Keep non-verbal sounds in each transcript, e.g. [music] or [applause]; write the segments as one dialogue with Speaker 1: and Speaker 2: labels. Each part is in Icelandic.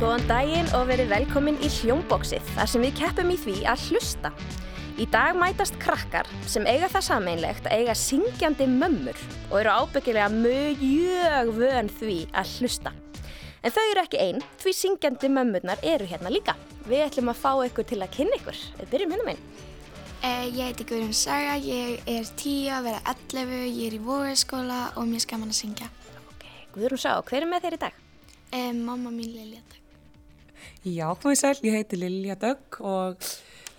Speaker 1: Góðan daginn og verið velkomin í Hljómboksið þar sem við keppum í því að hlusta. Í dag mætast krakkar sem eiga það sameinlegt að eiga syngjandi mömmur og eru ábyggilega mjög vön því að hlusta. En þau eru ekki einn því syngjandi mömmurnar eru hérna líka. Við ætlum að fá ykkur til að kynna ykkur. Við byrjum hérna meginn.
Speaker 2: Eh, Ég heiti Guðrún Saga, ég er 10 að vera 11, ég er í vóðskóla og mér skaman að syngja.
Speaker 1: Okay. Guðrún sá, hver er með þér í dag?
Speaker 2: Eh, mamma mín Lilja Dögg.
Speaker 3: Já, komið sæl, ég heiti Lilja Dögg og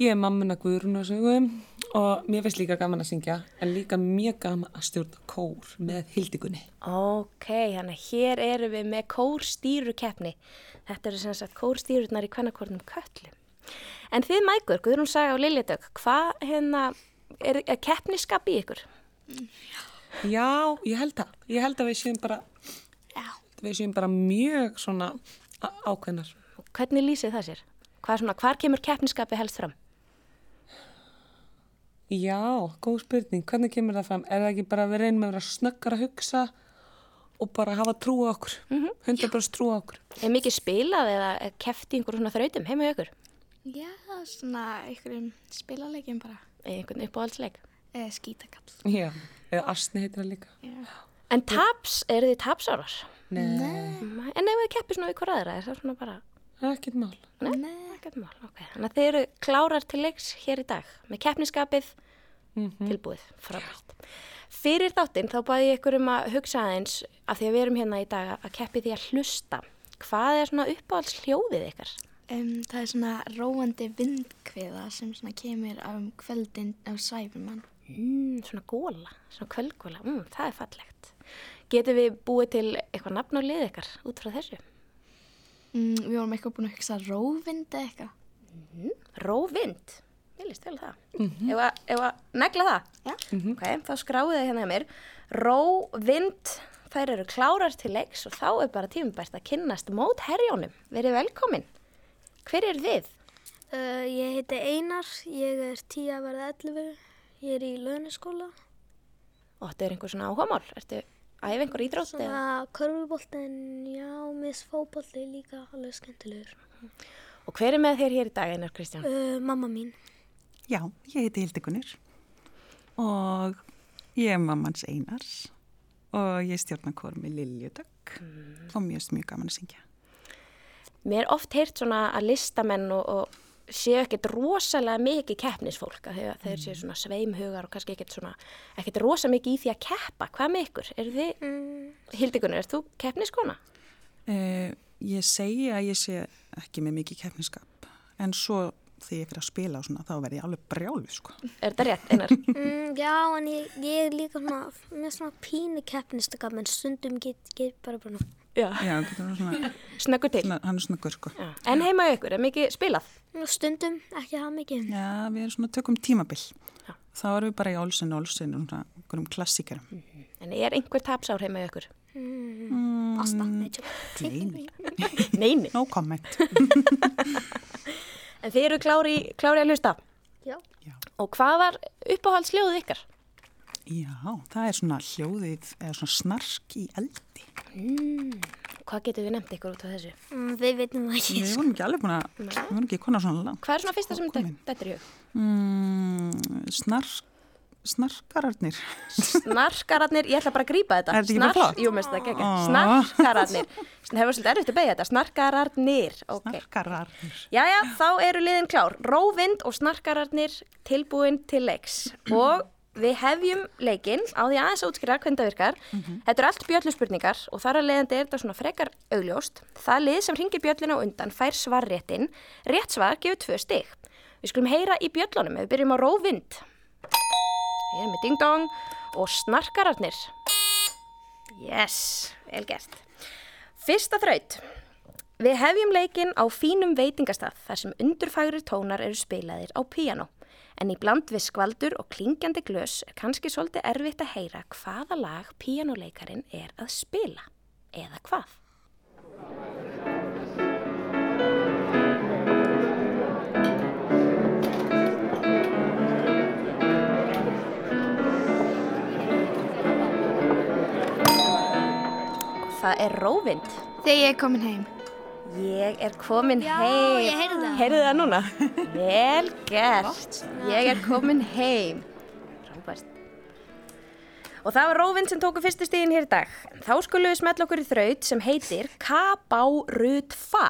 Speaker 3: ég er mammuna Guðrún og sögum og mér finnst líka gaman að syngja en líka mjög gaman að stjórna kór með hildikunni.
Speaker 1: Ok, þannig að hér erum við með kórstýrukeppni. Þetta eru sem sagt kórstýrunar í kvennakornum köllum. En þið mækur, Guðrún Saga og Liljadögg, hvað hérna, er, er keppniskap í ykkur?
Speaker 3: Já, ég held það. Ég held að við séum bara,
Speaker 2: Já.
Speaker 3: við séum bara mjög svona á- ákveðnar.
Speaker 1: Hvernig lýsið það sér? Hvað svona, hvar kemur keppniskapi helst fram?
Speaker 3: Já, góð spurning. Hvernig kemur það fram? Er það ekki bara að við reynum að vera snöggar að hugsa og bara hafa trú á okkur? Mm -hmm. trú á okkur.
Speaker 1: Er mikið spilað eða keppt í einhverjum svona þrautum heima í ykkur?
Speaker 2: Já, svona einhverjum spilalegjum bara.
Speaker 1: Einhvern uppáhaldsleik?
Speaker 2: Eh, skítakall.
Speaker 3: Já, eða asni heitir það líka.
Speaker 1: En taps, eru þið tapsárar?
Speaker 3: Nei,
Speaker 1: En ef þið keppir svona við hver aðra, er það svona bara...
Speaker 3: það er ekkert mál.
Speaker 1: Nei, ekkert mál, ok. Þannig að þið eru klárar til leiks hér í dag með keppniskapið tilbúið frábært. Fyrir þáttinn þá bæði ég ykkur um að hugsa aðeins af því að við erum hérna í dag að keppi því að hlusta. Hvað er svona uppáhalds hljóðið ykkar?
Speaker 2: Um, það er svona róandi vindkviða sem svona kemur á um kvöldin á svæfumann.
Speaker 1: Mm, svona góla, svona kvölgóla, mm, það er fallegt. Getum við búið til eitthvað nafn á lið ykkar út frá þessu?
Speaker 2: Mm, við vorum eitthvað búin að hugsa róvind eða eitthvað.
Speaker 1: Róvind. Ég líst vel á það. Mm -hmm. Ef að- ef að negla það? Mhm.
Speaker 2: Já.
Speaker 1: Ok, þá skráðu þið hérna hjá mér. Róvind, þær eru klárar til leiks og þá er bara tímubært að kynnast mót herjónum. Verið velkomin. Hver er þið?
Speaker 4: Uh, ég heiti Einar, ég er 10 að verða 11, ég er í launaskóla,
Speaker 1: Og þetta er einhver svona áhugamál. Ertu æf einhver ídrótt? eða?
Speaker 4: svona körfuboltin, Hérna, já, miss fóbolti líka, alveg skemmtilegur.
Speaker 1: Og hver er með þér hér í dag, Einar Kristján?
Speaker 4: Uh, mamma mín,
Speaker 5: Já, ég heiti Hildigunnir og ég er mammans Einars og ég stjórna kór með Liljudögg og mér finnst mjög gaman að syngja.
Speaker 1: Mér er oft heyrt svona að listamenn og, og séu ekkert rosalega mikið keppnisfólk. að Þegar þeir séu svona sveimhugar og kannski ekkert svona, ekkert rosa mikið í því að keppa. Hvað með ykkur? Er þið, mm. Hildikunni, er þú keppniskona?
Speaker 5: Uh, ég segi að ég sé ekki með mikið keppniskap en svo þegar ég fyrir að spila og svona þá verð ég alveg brjálu sko.
Speaker 1: Er þetta rétt, Einar?
Speaker 4: mm, já, en ég, ég er líka svona, með svona pínu keppnistakap, en stundum get, get bara bara,
Speaker 1: [laughs] Já.
Speaker 5: Já, getur verið svona,
Speaker 1: Snöggur til.
Speaker 5: svona, hann er svona gurku.
Speaker 1: Já. En heima hjá ykkur, er mikið spilað?
Speaker 4: nú, stundum ekki það mikið.
Speaker 5: Já, við erum svona tökum tímabil. Þá erum við bara í Olsen Olsen og svona einhverjum klassíkarum.
Speaker 1: En er einhver tapsár heima hjá ykkur?
Speaker 4: Ásta, nei, tjók.
Speaker 5: Gleimir.
Speaker 1: Neini.
Speaker 5: No comment.
Speaker 1: En þið eru klári, klári að hlusta.
Speaker 4: Já.
Speaker 1: Og hvað var uppáhaldsljóðið ykkar?
Speaker 5: Já, það er svona hljóðið eða svona snark í eldi.
Speaker 1: Hvað getum við nefnt ykkur út á þessu?
Speaker 4: Mm, við veitum það ekki.
Speaker 5: Við vorum ekki alveg búin að, við vorum ekki konar svona langt.
Speaker 1: Hvað er svona fyrsta sem þetta er í hug?
Speaker 5: Mm, snark, snarkararnir.
Speaker 1: Snarkararnir, ég ætla bara að grípa þetta.
Speaker 5: Er þetta ekki bara flott?
Speaker 1: Jú, mest það ekki.
Speaker 5: Ó.
Speaker 1: Snarkararnir. Það hefur svolítið erfitt að beigja þetta. Snarkararnir. Okay.
Speaker 5: [laughs] Snarkararnir.
Speaker 1: Jæja, þá eru liðin klár. Róvind og snarkararnir tilbúin til leiks. Og við hefjum leikinn á því aðeins að útskýra hvernig það virkar. Þetta eru allt bjölluspurningar og þar að leiðandi er þetta svona frekar augljóst. Það lið sem ringir bjölluna á undan fær svarréttin. Rétt svar gefur tvö stig. Við skulum heyra í bjöllunum. Við byrjum á róvind. Við erum með ding-dong og snarkararnir. Yes, vel gert. Fyrsta þraut. Við hefjum leikinn á fínum veitingastað þar sem undurfægri tónar eru spilaðir á píano. En í bland við skvaldur og klingjandi glös er kannski svolítið erfitt að heyra hvaða lag píanoleikarin er að spila. Eða hvað? Og það er róvind.
Speaker 2: Þegar ég er komin heim.
Speaker 1: Ég er komin
Speaker 4: Já,
Speaker 1: heim.
Speaker 4: ég heyrði það.
Speaker 1: Heyrðu það
Speaker 4: [laughs]
Speaker 1: núna? Vel gert. Ég er komin heim. Róbert. Og það var Róvin sem tóku fyrstu stíðin hér í dag. Þá skulum við smetla okkur í þraut sem heitir K-B-R-U-T-F-A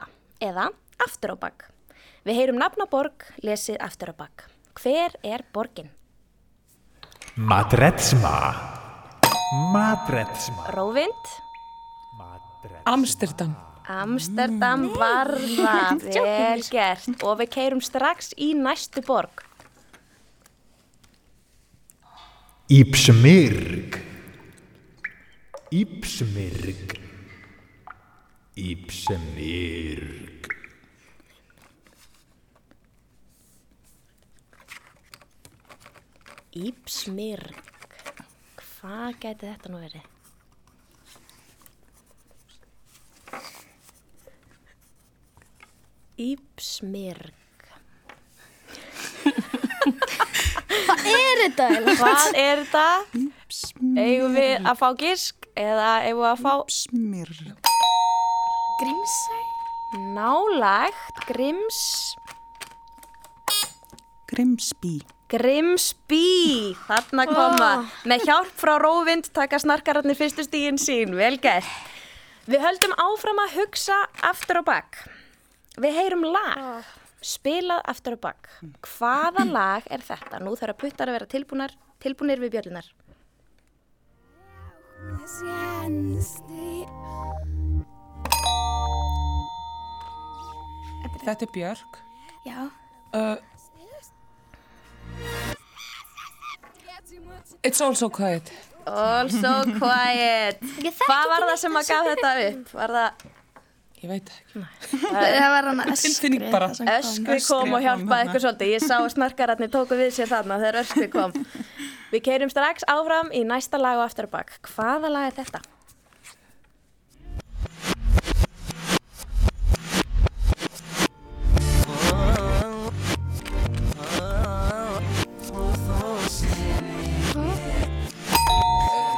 Speaker 1: eða Aftur á bakk. Við heyrum nafn á borg, lesið aftur á bakk. Hver er borgin?
Speaker 6: Madretsma. Madretsma.
Speaker 1: Róvind,
Speaker 6: Madretsma.
Speaker 3: Amsterdam.
Speaker 1: Amsterdam varða. Vel gert. Og við keyrum strax í næstu borg.
Speaker 6: Ipsmirg. Ipsmirg. Ipsmirg.
Speaker 1: Ípsmyrk. Hvað gæti þetta nú verið? Ípsmyrk.
Speaker 4: Er þetta eða?
Speaker 1: Hvað er þetta?
Speaker 5: Smyrk.
Speaker 1: Eigum við að fá gisk eða eigum við að fá
Speaker 5: Smyrk.
Speaker 2: Grímsæ?
Speaker 1: nálægt grims,
Speaker 5: Grimsby.
Speaker 1: grimsby? Þarna koma. Með hjálp frá Róvind taka snarkararnir fyrstu stígin sín. Vel gert. Við höldum áfram að hugsa aftur á bakk. Við heyrum lag, spilað aftur á bakk. Hvaða lag er þetta? Nú þarf að puttar að vera tilbúnar, tilbúnir við bjöllunar.
Speaker 3: Þetta er Björk.
Speaker 2: Já.
Speaker 3: Uh, it's also quiet.
Speaker 1: All so quiet.
Speaker 4: Ég þekki
Speaker 1: Hvað var
Speaker 4: ekki
Speaker 1: það sem að gaf þetta upp? Var það
Speaker 3: Ég veit það ekki.
Speaker 2: Það var hann öskri.
Speaker 3: Tilfinning bara.
Speaker 2: það sem kom.
Speaker 1: öskri kom og hjálpaði ykkur svolítið? Ég sá að snarkararnir tóku við sér þarna þegar öskri kom. Við keirum strax áfram í næsta lag og aftur á bakk. Hvaða lag er þetta?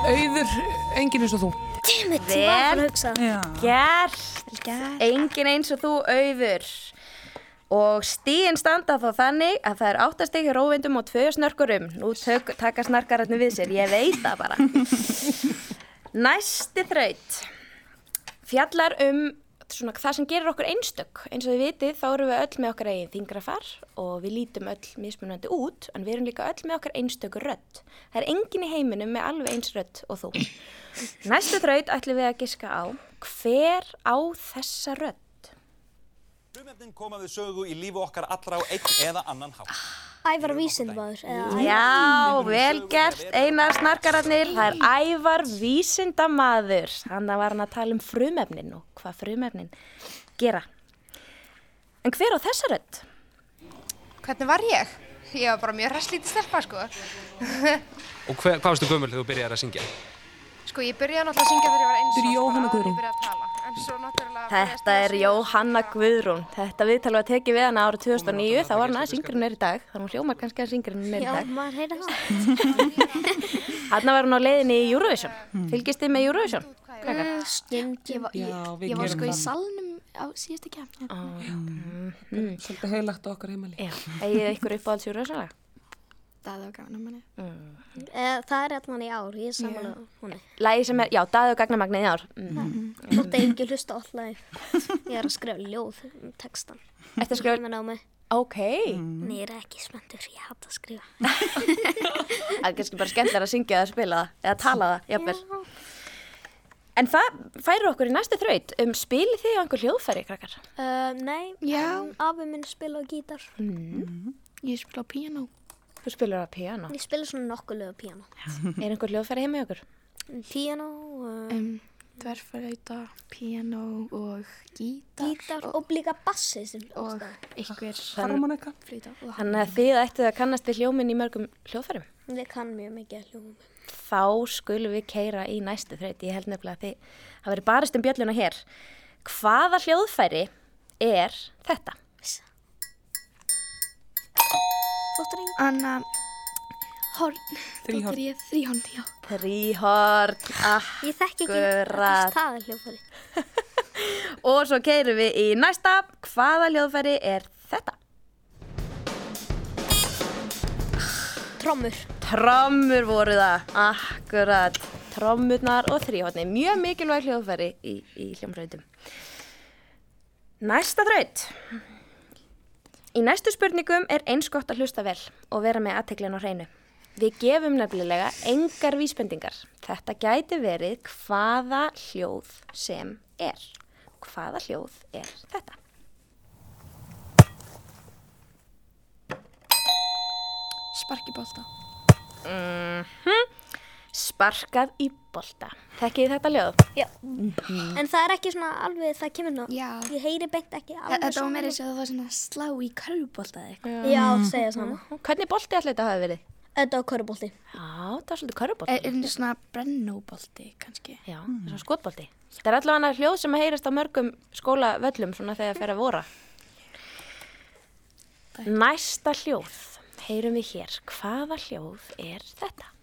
Speaker 3: Auður, enginn eins og þú.
Speaker 4: Dimmit,
Speaker 1: Vel.
Speaker 4: ég var að hugsa.
Speaker 5: Já.
Speaker 1: Gert.
Speaker 2: Já.
Speaker 1: Engin eins og þú auður. Og stíin standa þá þannig að það er áttast ekki róvindum og tvö snörkurum. Nú tök, taka snarkararnir við sér, ég veit það bara. Næsti þraut fjallar um svona, það sem gerir okkur einstök. Eins og þið vitið þá erum við öll með okkar eigin þingrafar og við lítum öll mismunandi út en við erum líka öll með okkar einstöku rödd. Það er engin í heiminum með alveg eins rödd og þú. Næstu þraut ætlum við að giska á hver á þessa rödd?
Speaker 7: Frumefnin koma við sögu í lífi okkar allra á einn eða annan hátt.
Speaker 4: Ævar Vísindmaður. eða-
Speaker 1: Já, vel gert, einar snarkararnir, það er ævar vísindamaður. Þannig var hann að tala um frumefnin og hvað frumefnin gera. En hver á þessa rödd?
Speaker 8: Hvernig var ég? Ég var bara mjög hresslítið stelpa, sko.
Speaker 9: Og hver, hvað varstu gömul þegar þú byrjar að syngja?
Speaker 8: Sko, ég byrjaði náttúrulega að syngja þegar ég var eins
Speaker 3: Þetta er Jóhanna Guðrún.
Speaker 8: Ég byrjaði að tala, en svo náttúrulega...
Speaker 1: Þetta er Jóhanna Guðrún. Þetta viðtal var tekið við hana ára 2009, þá var hann aðeins yngri en er í dag. Þannig hún hljómar kannski aðeins yngri en er í
Speaker 4: Já,
Speaker 1: dag.
Speaker 4: maður heyrði það.
Speaker 2: [laughs]
Speaker 1: Þarna var hann á leiðinni í Eurovision. Fylgist þið með Eurovision?
Speaker 4: Mm,
Speaker 2: Ég var, ég,
Speaker 3: Já, við
Speaker 2: ég var
Speaker 3: gerum
Speaker 2: sko í
Speaker 3: það. Ah.
Speaker 2: salnum á síðustu kemni.
Speaker 3: Svolítið heilagt á okkar heimali.
Speaker 1: Já. Egið ykkur upp á alls Eurovisionlega?
Speaker 2: Það var gaman að manni.
Speaker 4: Eh, Það er allan í ár, ég er samanlega húnni.
Speaker 1: Lægi sem er, já, Daði og Gagnamagnið í ár. Mm.
Speaker 4: Þótt að ég hef ekki hlusta á alltaf. Ég er að skrifa ljóð um textan.
Speaker 1: Eftir að skrifa,
Speaker 4: Skrifa á mig.
Speaker 1: ok,
Speaker 2: Mm.
Speaker 4: En ég er ekki spenntur, ég hata að skrifa.
Speaker 1: það er kannski bara skemmtilega að syngja það að spila það, eða tala það, jafnvel. En það færir okkur í næstu þraut um spilið þið á einhver hljóðfæri, krakkar.
Speaker 4: Uh, nei,
Speaker 2: Já.
Speaker 4: en afi minn spila á gítar.
Speaker 2: Ég spila á piano.
Speaker 1: Þú spilur á piano.
Speaker 4: Ég spila svona nokkuð lög á piano.
Speaker 1: Er einhver hljóðfæri heima í okkur?
Speaker 4: Piano, uh,
Speaker 2: Um, Dverfarauta, piano og gítar.
Speaker 4: gítar og líka bassi sem
Speaker 2: Og
Speaker 4: hljóðstæði.
Speaker 2: einhver
Speaker 3: Harmonika.
Speaker 2: flýta. Og
Speaker 1: Þannig að þið ættuð að kannast við hljóminn í mörgum hljóðfærum.
Speaker 4: Ég kann mjög mikið að hljóma.
Speaker 1: Þá skulum við keira í næstu þraut. Ég held nefnilega að þið hafa verið barist um bjölluna hér. Hvaða hljóðfæri er þetta?
Speaker 4: Þóttur einhvern
Speaker 2: Anna, horn.
Speaker 3: Þríhorn.
Speaker 2: Dóttir ég, Þríhorn, já.
Speaker 1: Þrýhorn, ah,
Speaker 4: Ég þekki ekki
Speaker 1: Akkurat.
Speaker 4: það er hljófari.
Speaker 1: Og svo keirum við í næsta. Hvaða hljóðfæri er þetta?
Speaker 4: Trommur.
Speaker 1: Trommur voru það, akkurat. Trommurnar og þrjóðni, mjög mikilvæg hljóðfæri í, í hljómsveitum. Næsta þraut. Í næstu spurningum er eins gott að hlusta vel og vera með aðteklin á hreinu. Við gefum nefnilega engar vísbendingar. Þetta gæti verið hvaða hljóð sem er. Hvaða hljóð er þetta?
Speaker 2: Sparki bólta.
Speaker 1: Sparkað í bolta. Þekkið þið þetta hljóð?
Speaker 4: Já. En það er ekki svona alveg, það kemur ná.
Speaker 2: Já.
Speaker 4: Ég heyri beint ekki alveg
Speaker 2: Þetta sko. var meira sér að það var svona slá í körfbólta eða eitthvað.
Speaker 4: Já, segja sama.
Speaker 2: Mhm.
Speaker 1: Hvernig bolti allir þetta hafi verið?
Speaker 4: Þetta var körubólti.
Speaker 1: Já, það var svolítið körubolti.
Speaker 2: Er þetta svona brennóbólti kannski?
Speaker 1: Já, mm. svona skotbolti. Þetta er allavega hljóð sem að heyrast á mörgum skólavöllum svona þegar fer að vora. Næsta hljóð, heyrum við hér. Hvaða hljóð er þetta?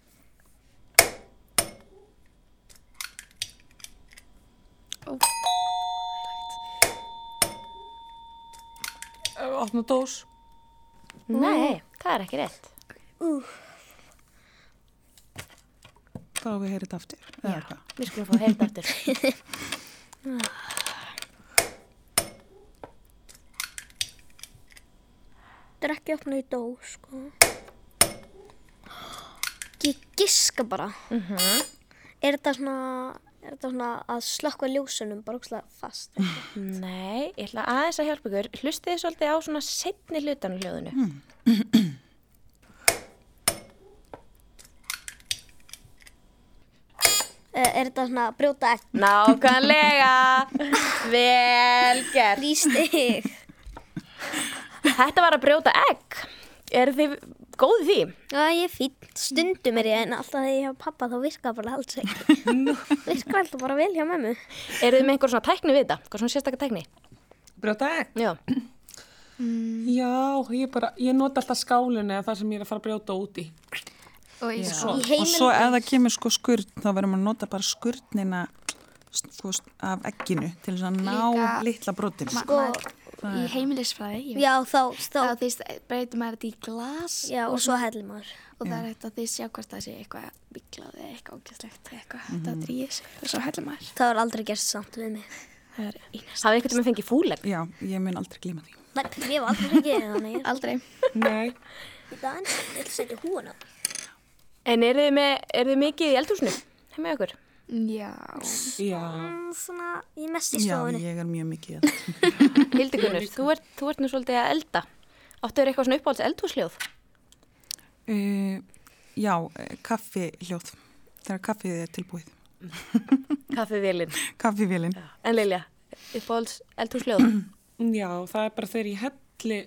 Speaker 3: Opna dós.
Speaker 1: Nei, það er ekki rétt.
Speaker 5: Þá við heyrið þetta aftur. eða hvað?
Speaker 1: Við skulum fá að heyra þetta aftur.
Speaker 4: Þetta er ekki opnað í dó, sko. Ég giska bara. Er þetta svona, er þetta svona að slökka ljósunum bara ógslag fast?
Speaker 1: [laughs] Nei, ég ætla aðeins að hjálpa ykkur. Hlustið þið svolítið á svona setni hlutan í hljóðinu.
Speaker 4: Eh, er þetta svona að brjóta egg?
Speaker 1: [laughs] Nákvæmlega! Vel gert!
Speaker 4: Þrýstig.
Speaker 1: Þetta var að brjóta egg. Eru þið góðið því?
Speaker 4: Já, ég er fín. Stundum er ég en alltaf þegar ég hef pappa þá virkar bara alls ekki. virkar alltaf bara vel hjá mömmu.
Speaker 1: Eru þið með einhver svona tækni við þetta? Hvað svona sérstakar tækni?
Speaker 3: Brjóta egg.
Speaker 1: Já.
Speaker 3: Já, ég bara, ég nota alltaf skálinu eða það sem ég er að fara að brjóta út í.
Speaker 8: Og ég
Speaker 4: Í
Speaker 8: svo.
Speaker 5: Og
Speaker 4: heimilinu.
Speaker 5: svo ef það kemur sko skurð, þá verðum við að nota bara skurðnina sko, af egginu til þess að ná
Speaker 2: Líka-
Speaker 5: litla brotin.
Speaker 2: Sko, í heimilisfræði, ég
Speaker 4: Já, þá, þá,
Speaker 2: þá þýst breytir maður þetta í glas
Speaker 4: já, og svo heldur maður.
Speaker 2: og það er hægt að þið sjá hvort það sé eitthvað bygglað eða eitthvað ógæstlegt eða eitthvað mm -hmm.
Speaker 8: Mhm.
Speaker 2: það drýðis og svo heldur maður
Speaker 4: Það var aldrei gerst samt við mig.
Speaker 2: það er einast
Speaker 1: Hafið ykkur með fengið fúlegg?
Speaker 5: Já, ég mun aldrei glíma því.
Speaker 4: Nei, ég var aldrei ekki þannig.
Speaker 2: aldrei
Speaker 3: Nei.
Speaker 4: Í dag, ég ætla að setja húan á.
Speaker 1: En eru þið, með, eru þið mikið í eldhúsinu? Hef með okkur?
Speaker 2: já
Speaker 3: Já.
Speaker 4: Mm, Svona, ég er mest í
Speaker 5: Já,
Speaker 4: stofunni.
Speaker 5: ég er mjög
Speaker 3: [laughs]
Speaker 5: mikið að
Speaker 1: Hildikunnur, þú, ert- þú ert nú svolítið að elda. Áttu þér eitthvað svona uppáhalds eldhúsljóð?
Speaker 5: Uh, já, eh, kaffi hljóð. Þegar kaffið er tilbúið.
Speaker 1: Kaffivélinn.
Speaker 5: Kaffivélinn.
Speaker 1: En Lilja, uppáhalds eldhúsljóð?
Speaker 3: Já, það er bara þegar ég helli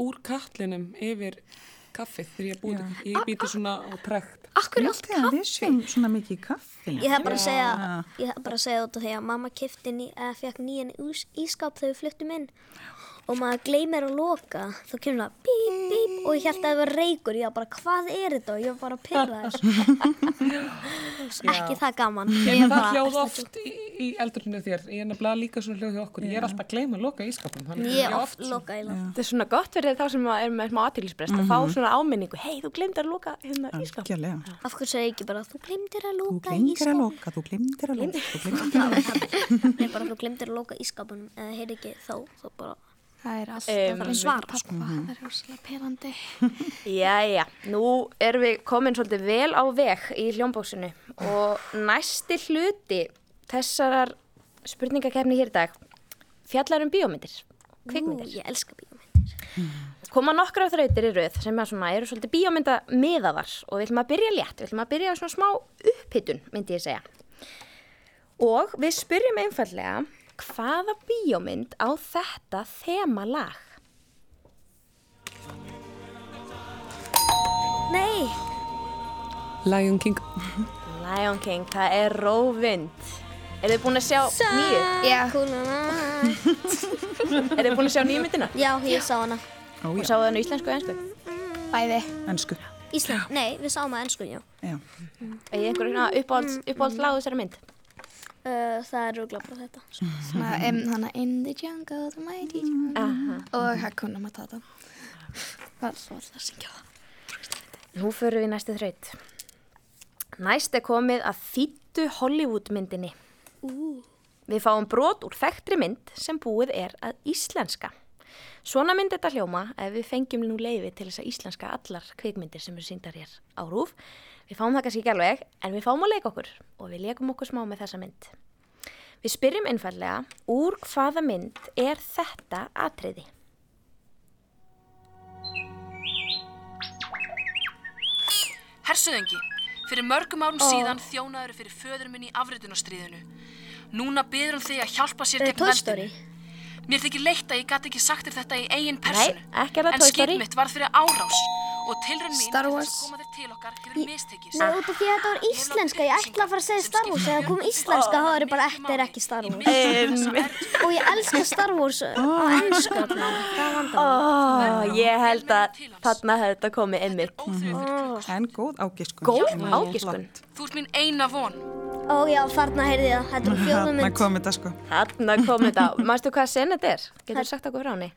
Speaker 3: úr kallinum yfir kaffið þegar ég búið. Ég býti svona á prekt.
Speaker 5: [laughs] Akkur allt kaffi? Við séum svona mikið í kaffinu.
Speaker 4: Ég hef bara að segja, ég hef bara að segja út af því að mamma kifti, eða fekk nýjan ús, ískáp þegar við fluttum inn og maður gleymir að loka, þá kemur það bíp, bíp og ég held að það var reykur, ég var bara hvað er þetta og ég var bara að pyrra þess. ekki það gaman. Ég
Speaker 3: En
Speaker 4: var
Speaker 3: það
Speaker 4: bara-
Speaker 3: hljóð oft í, í eldurinu þér. Ég er nefnilega líka svona hljóð hjá okkur. Ég er alltaf að gleyma að loka ískapum.
Speaker 4: Ég oft loka í land.
Speaker 1: Þetta er svona gott fyrir þá sem að er með smá aðtýrlisbrest að fá svona áminningu. Hei, þú glemd að loka hérna ískap.
Speaker 5: Gjörlega.
Speaker 4: Af hverju segir ég ekki bara, þú glemdir að
Speaker 5: Þú
Speaker 4: loka í
Speaker 5: glimtir að
Speaker 4: ískáp.
Speaker 5: loka, þú glimtir að loka, þú glimtir að loka.
Speaker 4: Nei, bara þú glemdir að loka ískapunum, eða heyr ekki þá, þá bara,
Speaker 2: það er alltaf
Speaker 1: Em,
Speaker 2: um, það er svara pappa
Speaker 8: Mhm.
Speaker 2: það er rosalega perandi
Speaker 1: Jæja, nú erum við komin svolítið vel á veg í hljómbóksinu og næsti hluti þessarar spurningakefni hér í dag fjallar um bíómyndir,
Speaker 4: ú,
Speaker 1: kvikmyndir.
Speaker 4: ég elska bíómynd.
Speaker 1: koma nokkra þrautir í rauð sem er svona, eru svolítið bíómynda miðaðar og við ætlum að byrja létt, við ætlum að byrja á svona smá upphittun, myndi ég segja. Og við spyrjum einfallega, hvaða bíómynd á þetta þemalag?
Speaker 4: Nei,
Speaker 3: Lion King.
Speaker 1: Lion King, það er róvind. Er þið búin að sjá nýju?
Speaker 8: Já.
Speaker 4: kúluna.
Speaker 1: Er þið búin að sjá nýju myndina?
Speaker 4: Já, ég sá hana.
Speaker 5: Ó,
Speaker 1: Og
Speaker 5: já,
Speaker 1: sáðu hann á íslensku og einsku?
Speaker 8: Bæði.
Speaker 5: ennsku.
Speaker 4: Ísland, nei, við sáum að ennsku, já.
Speaker 5: Já.
Speaker 1: Er ég einhverjum uppáhalds, uppáhalds lágu þessari mynd?
Speaker 4: Uh, það er rúgla bara þetta. sko.
Speaker 2: Svona, um, hana In the jungle, the mighty jungle
Speaker 1: Aha.
Speaker 2: Og Hakuna Matata Var var það að syngja það
Speaker 1: Nú förum við í næstu þraut. Næst er komið að þýttu Hollywoodmyndinni. Við fáum brot úr þekktri mynd sem búið er að íslenska. Svona mynd þetta hljóma ef við fengjum nú leiði til þess að íslenska allar kvikmyndir sem eru síndar hér á rúf. Við fáum það kannski ekki alveg, en við fáum að leika okkur og við leikum okkur smá með þessa mynd. Við spyrjum einfallega úr hvaða mynd er þetta atriði?
Speaker 10: Hersuðengi, fyrir mörgum árum síðan þjónaður fyrir föður minn í afritunarstríðinu. Núna byður hann þig að hjálpa sér
Speaker 4: Það er
Speaker 10: gegn
Speaker 4: tóðstóri.
Speaker 10: veldinu. Mér þykir leitt að ég gat ekki sagt þér þetta í eigin personu.
Speaker 1: ekki er það
Speaker 10: En
Speaker 1: Toy Story.
Speaker 10: skip mitt var fyrir árás og tilrun mín
Speaker 2: Star
Speaker 10: til
Speaker 2: Wars.
Speaker 10: þess að koma þér til okkar hefur mistekist.
Speaker 4: Nei, út af því að þetta var íslenska, ég ætla að fara að segja Star Wars,
Speaker 10: um
Speaker 4: eða kom íslenska, þá er bara þetta er ekki Star Wars. Og ég elska Star Wars uh, á ennsku allan, það er vandamál.
Speaker 1: Ó, ég held að þarna hefði þetta komið einmitt.
Speaker 10: Óþrjöfur,
Speaker 5: En góð ágiskun.
Speaker 1: Góð ágiskun.
Speaker 10: þú ert mín eina von.
Speaker 4: Ó já, þarna heyrði ég það, þetta er
Speaker 5: Þarna
Speaker 4: fjóðumynd.
Speaker 5: kom þetta sko.
Speaker 1: Þarna kom þetta. Mástu hvað sen þetta er? Getur sagt okkur frá henni?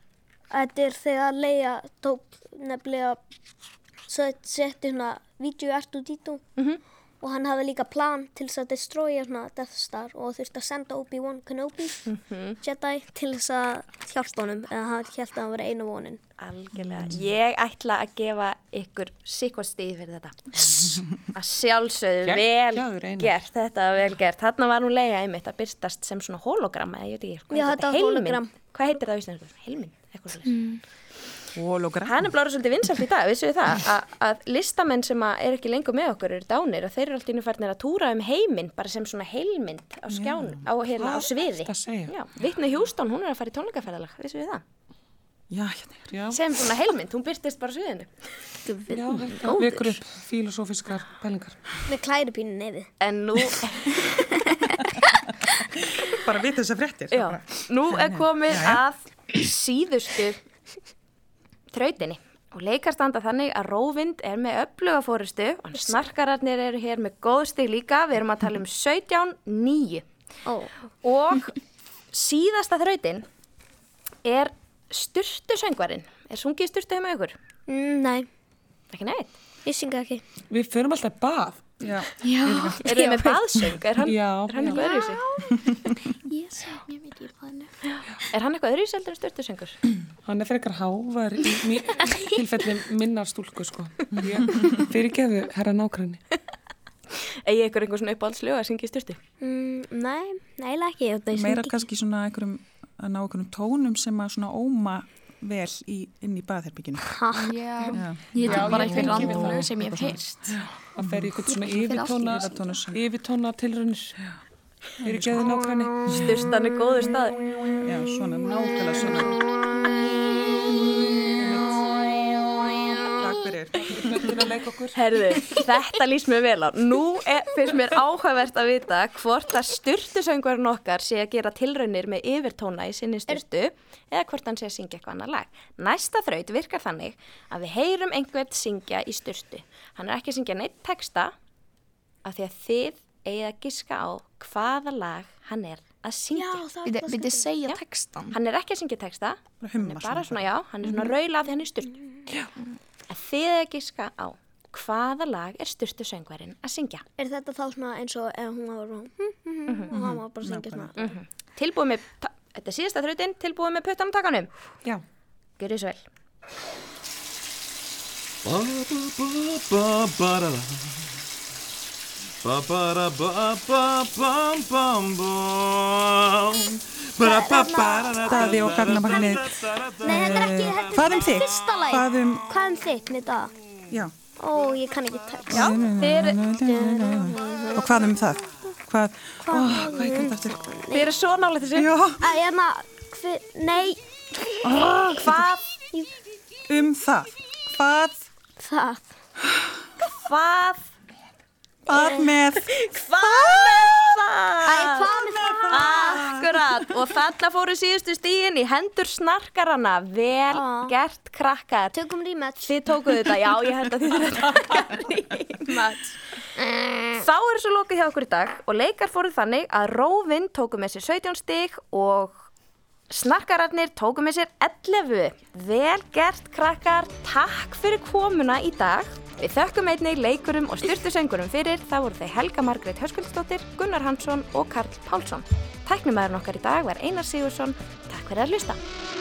Speaker 4: Þetta er þegar Leia tók nefnilega svo þetta setti svona vídeo art út í tú og hann hafði líka plan til þess að destroya svona Death Star og þurfti að senda Obi-Wan Kenobi Jedi til þess að hjálpa honum eða hann held að hann verið einu vonin
Speaker 1: Algjörlega. Mm. Ég ætla að gefa ykkur sikkvart stíð fyrir þetta. Að sjálfsögðu
Speaker 3: Geggjaður,
Speaker 1: vel
Speaker 3: Einar.
Speaker 1: gert. Þetta var vel gert. Þarna var hún leiða einmitt að byrstast sem svona hologram, eða ég veit ekki. hvað
Speaker 4: Já,
Speaker 1: heitir
Speaker 4: þetta var
Speaker 1: Heilmynd.
Speaker 4: hologram.
Speaker 1: Hvað heitir það á íslensku? Heilminn, eitthvað svolítið.
Speaker 5: Hologram.
Speaker 1: Hann er blára svolítið vinsalt í dag, vissu við það, að, að listamenn sem að er ekki lengur með okkur eru dánir og þeir eru alltaf innfærnir að túra um heiminn, bara sem svona heilmynd á skján, á, hérna, á
Speaker 3: Hvað
Speaker 1: sviði.
Speaker 3: ertu að segja?
Speaker 1: Já, Vittni Hjústón, hún er að fara í tónleikaferðalag, vissu við það.
Speaker 5: Já, hérna er.
Speaker 3: Já,
Speaker 1: Sem svona heilmynd, hún byrtist bara á sviðinu.
Speaker 3: já, þetta vekur upp filosófiskar pælingar.
Speaker 4: með klæri pínu nefið
Speaker 1: En
Speaker 3: [laughs]
Speaker 1: nú,
Speaker 5: Bara við þessar fréttir.
Speaker 1: já, nú er komið að síðustu þrautinni. Og leikar standa þannig að Róvind er með öfluga fórustu og snarkararnir eru hér með góðstig líka. Við erum að tala um 17-9.
Speaker 4: Ó,
Speaker 1: Og síðasta þrautin er styrtu söngvarinn. Er sungið styrtu heima hjá ykkur?
Speaker 4: mm, nei,
Speaker 1: Ekki neitt.
Speaker 4: ég synga ekki
Speaker 3: Við förum alltaf í bað.
Speaker 5: Já.
Speaker 2: Já,
Speaker 1: Er þið með baðsöng? Er hann,
Speaker 3: Já,
Speaker 1: er hann
Speaker 3: já.
Speaker 1: eitthvað öðruvísi?
Speaker 2: ég sef mjög mikið í bæðinu
Speaker 1: Er hann eitthvað öðruvísi heldur en styrtu
Speaker 3: [laughs]
Speaker 1: söngur?
Speaker 3: Hann er fyrir ykkar hávar í [laughs] mi- tilfelli minnar stúlku sko. Ég fyrir geðu herra nákvæmni.
Speaker 1: Egi ykkur einhver svona uppáhaldsljóð að syngja styrtu?
Speaker 4: mm, nei, neila ekki ég, ég
Speaker 5: Meira
Speaker 4: syngi
Speaker 5: kannski svona einhverjum, að ná einhverjum tónum sem að svona óma vel í, inn í baðherbygginu.
Speaker 8: Já, ég tek bara einhver randlög sem ég hef heyrst.
Speaker 3: Það fer í eitthvað svona yfirtóna,
Speaker 5: Yfirtónus.
Speaker 3: yfirtóna tilrunir. Fyrir geðu nákvæmni.
Speaker 1: Styrstan er góður staður.
Speaker 5: Já, svona nákvæmlega svona. Takk fyrir.
Speaker 3: Til að leika okkur.
Speaker 1: Herðu, þetta líst mér vel á. Nú er, finnst mér áhugavert að vita hvort að styrtusöngvarinn okkar sé að gera tilraunir með yfirtóna í sinni styrtu eða hvort hann sé að syngja eitthvað annar lag. Næsta þraut virkar þannig að við heyrum einhvern syngja í styrtu. Hann er ekki að syngja neitt texta af því að þið eigið að giska á hvaða lag hann er að syngja.
Speaker 8: Við þið segja textan.
Speaker 1: Hann er ekki að syngja texta,
Speaker 5: Bara
Speaker 1: hann
Speaker 5: humma
Speaker 1: er bara Mhm. svona, já, hann er svona raula af því hann er styrtu. En þið eða giska á hvaða lag er styrtu söngvarinn að syngja.
Speaker 4: er þetta þá svona eins og ef hún var svona, hm, hm, hm, og hann var bara að syngja svona
Speaker 1: Tilbúið með, ta- þetta er síðasta þrautin, tilbúið með puttanum takanum.
Speaker 3: Já.
Speaker 1: Gjör þessu vel.
Speaker 6: Ba-ba-ba-ba-ba-da-da. Ba-ba-da-ba-ba-bam-bam-bam. Ba-da-ba-ba-da-da-da-da.
Speaker 5: Daði og gagnabarnið.
Speaker 4: nei, þetta er ekki, þetta er
Speaker 5: Hvað um þig?
Speaker 4: fyrsta lagi
Speaker 5: Hvað um,
Speaker 4: hvað um þitt, Nita?
Speaker 5: já.
Speaker 4: Ó, ég kann ekki text
Speaker 1: Já, þið eru,
Speaker 5: Og hvað um það? Hvað, ó, hvað er þetta aftur?
Speaker 1: þið eru svo nálega þessu.
Speaker 5: Já,
Speaker 4: Að hérna, hver, nei,
Speaker 1: Hvað,
Speaker 5: um það. Hvað,
Speaker 4: það.
Speaker 1: hvað,
Speaker 5: hvað með?
Speaker 1: hvað er það?
Speaker 4: Æ,
Speaker 5: Ah.
Speaker 4: hvað með það?
Speaker 1: Akkurat, og þarna fóru síðustu stíðin í hendur snarkarana. Vel
Speaker 4: Á.
Speaker 1: gert krakkar.
Speaker 4: Tökum rematch.
Speaker 1: Þið tókuðu þetta, já, ég held að þið þetta. Rímats. Eh. Þá er þessu lokið hjá okkur í dag og leikar fóruð þannig að Róvin tóku með sér 17 stig og snarkararnir tóku með sér 11. Vel gert krakkar, takk fyrir komuna í dag. Við þökkum einnig leikurum og styrtusöngurum fyrir, það voru þeir Helga Margrét Höskuldsdóttir, Gunnar Hansson og Karl Pálsson. Tæknumæðurinn okkar í dag var Einar Sigursson, takk fyrir að hlusta.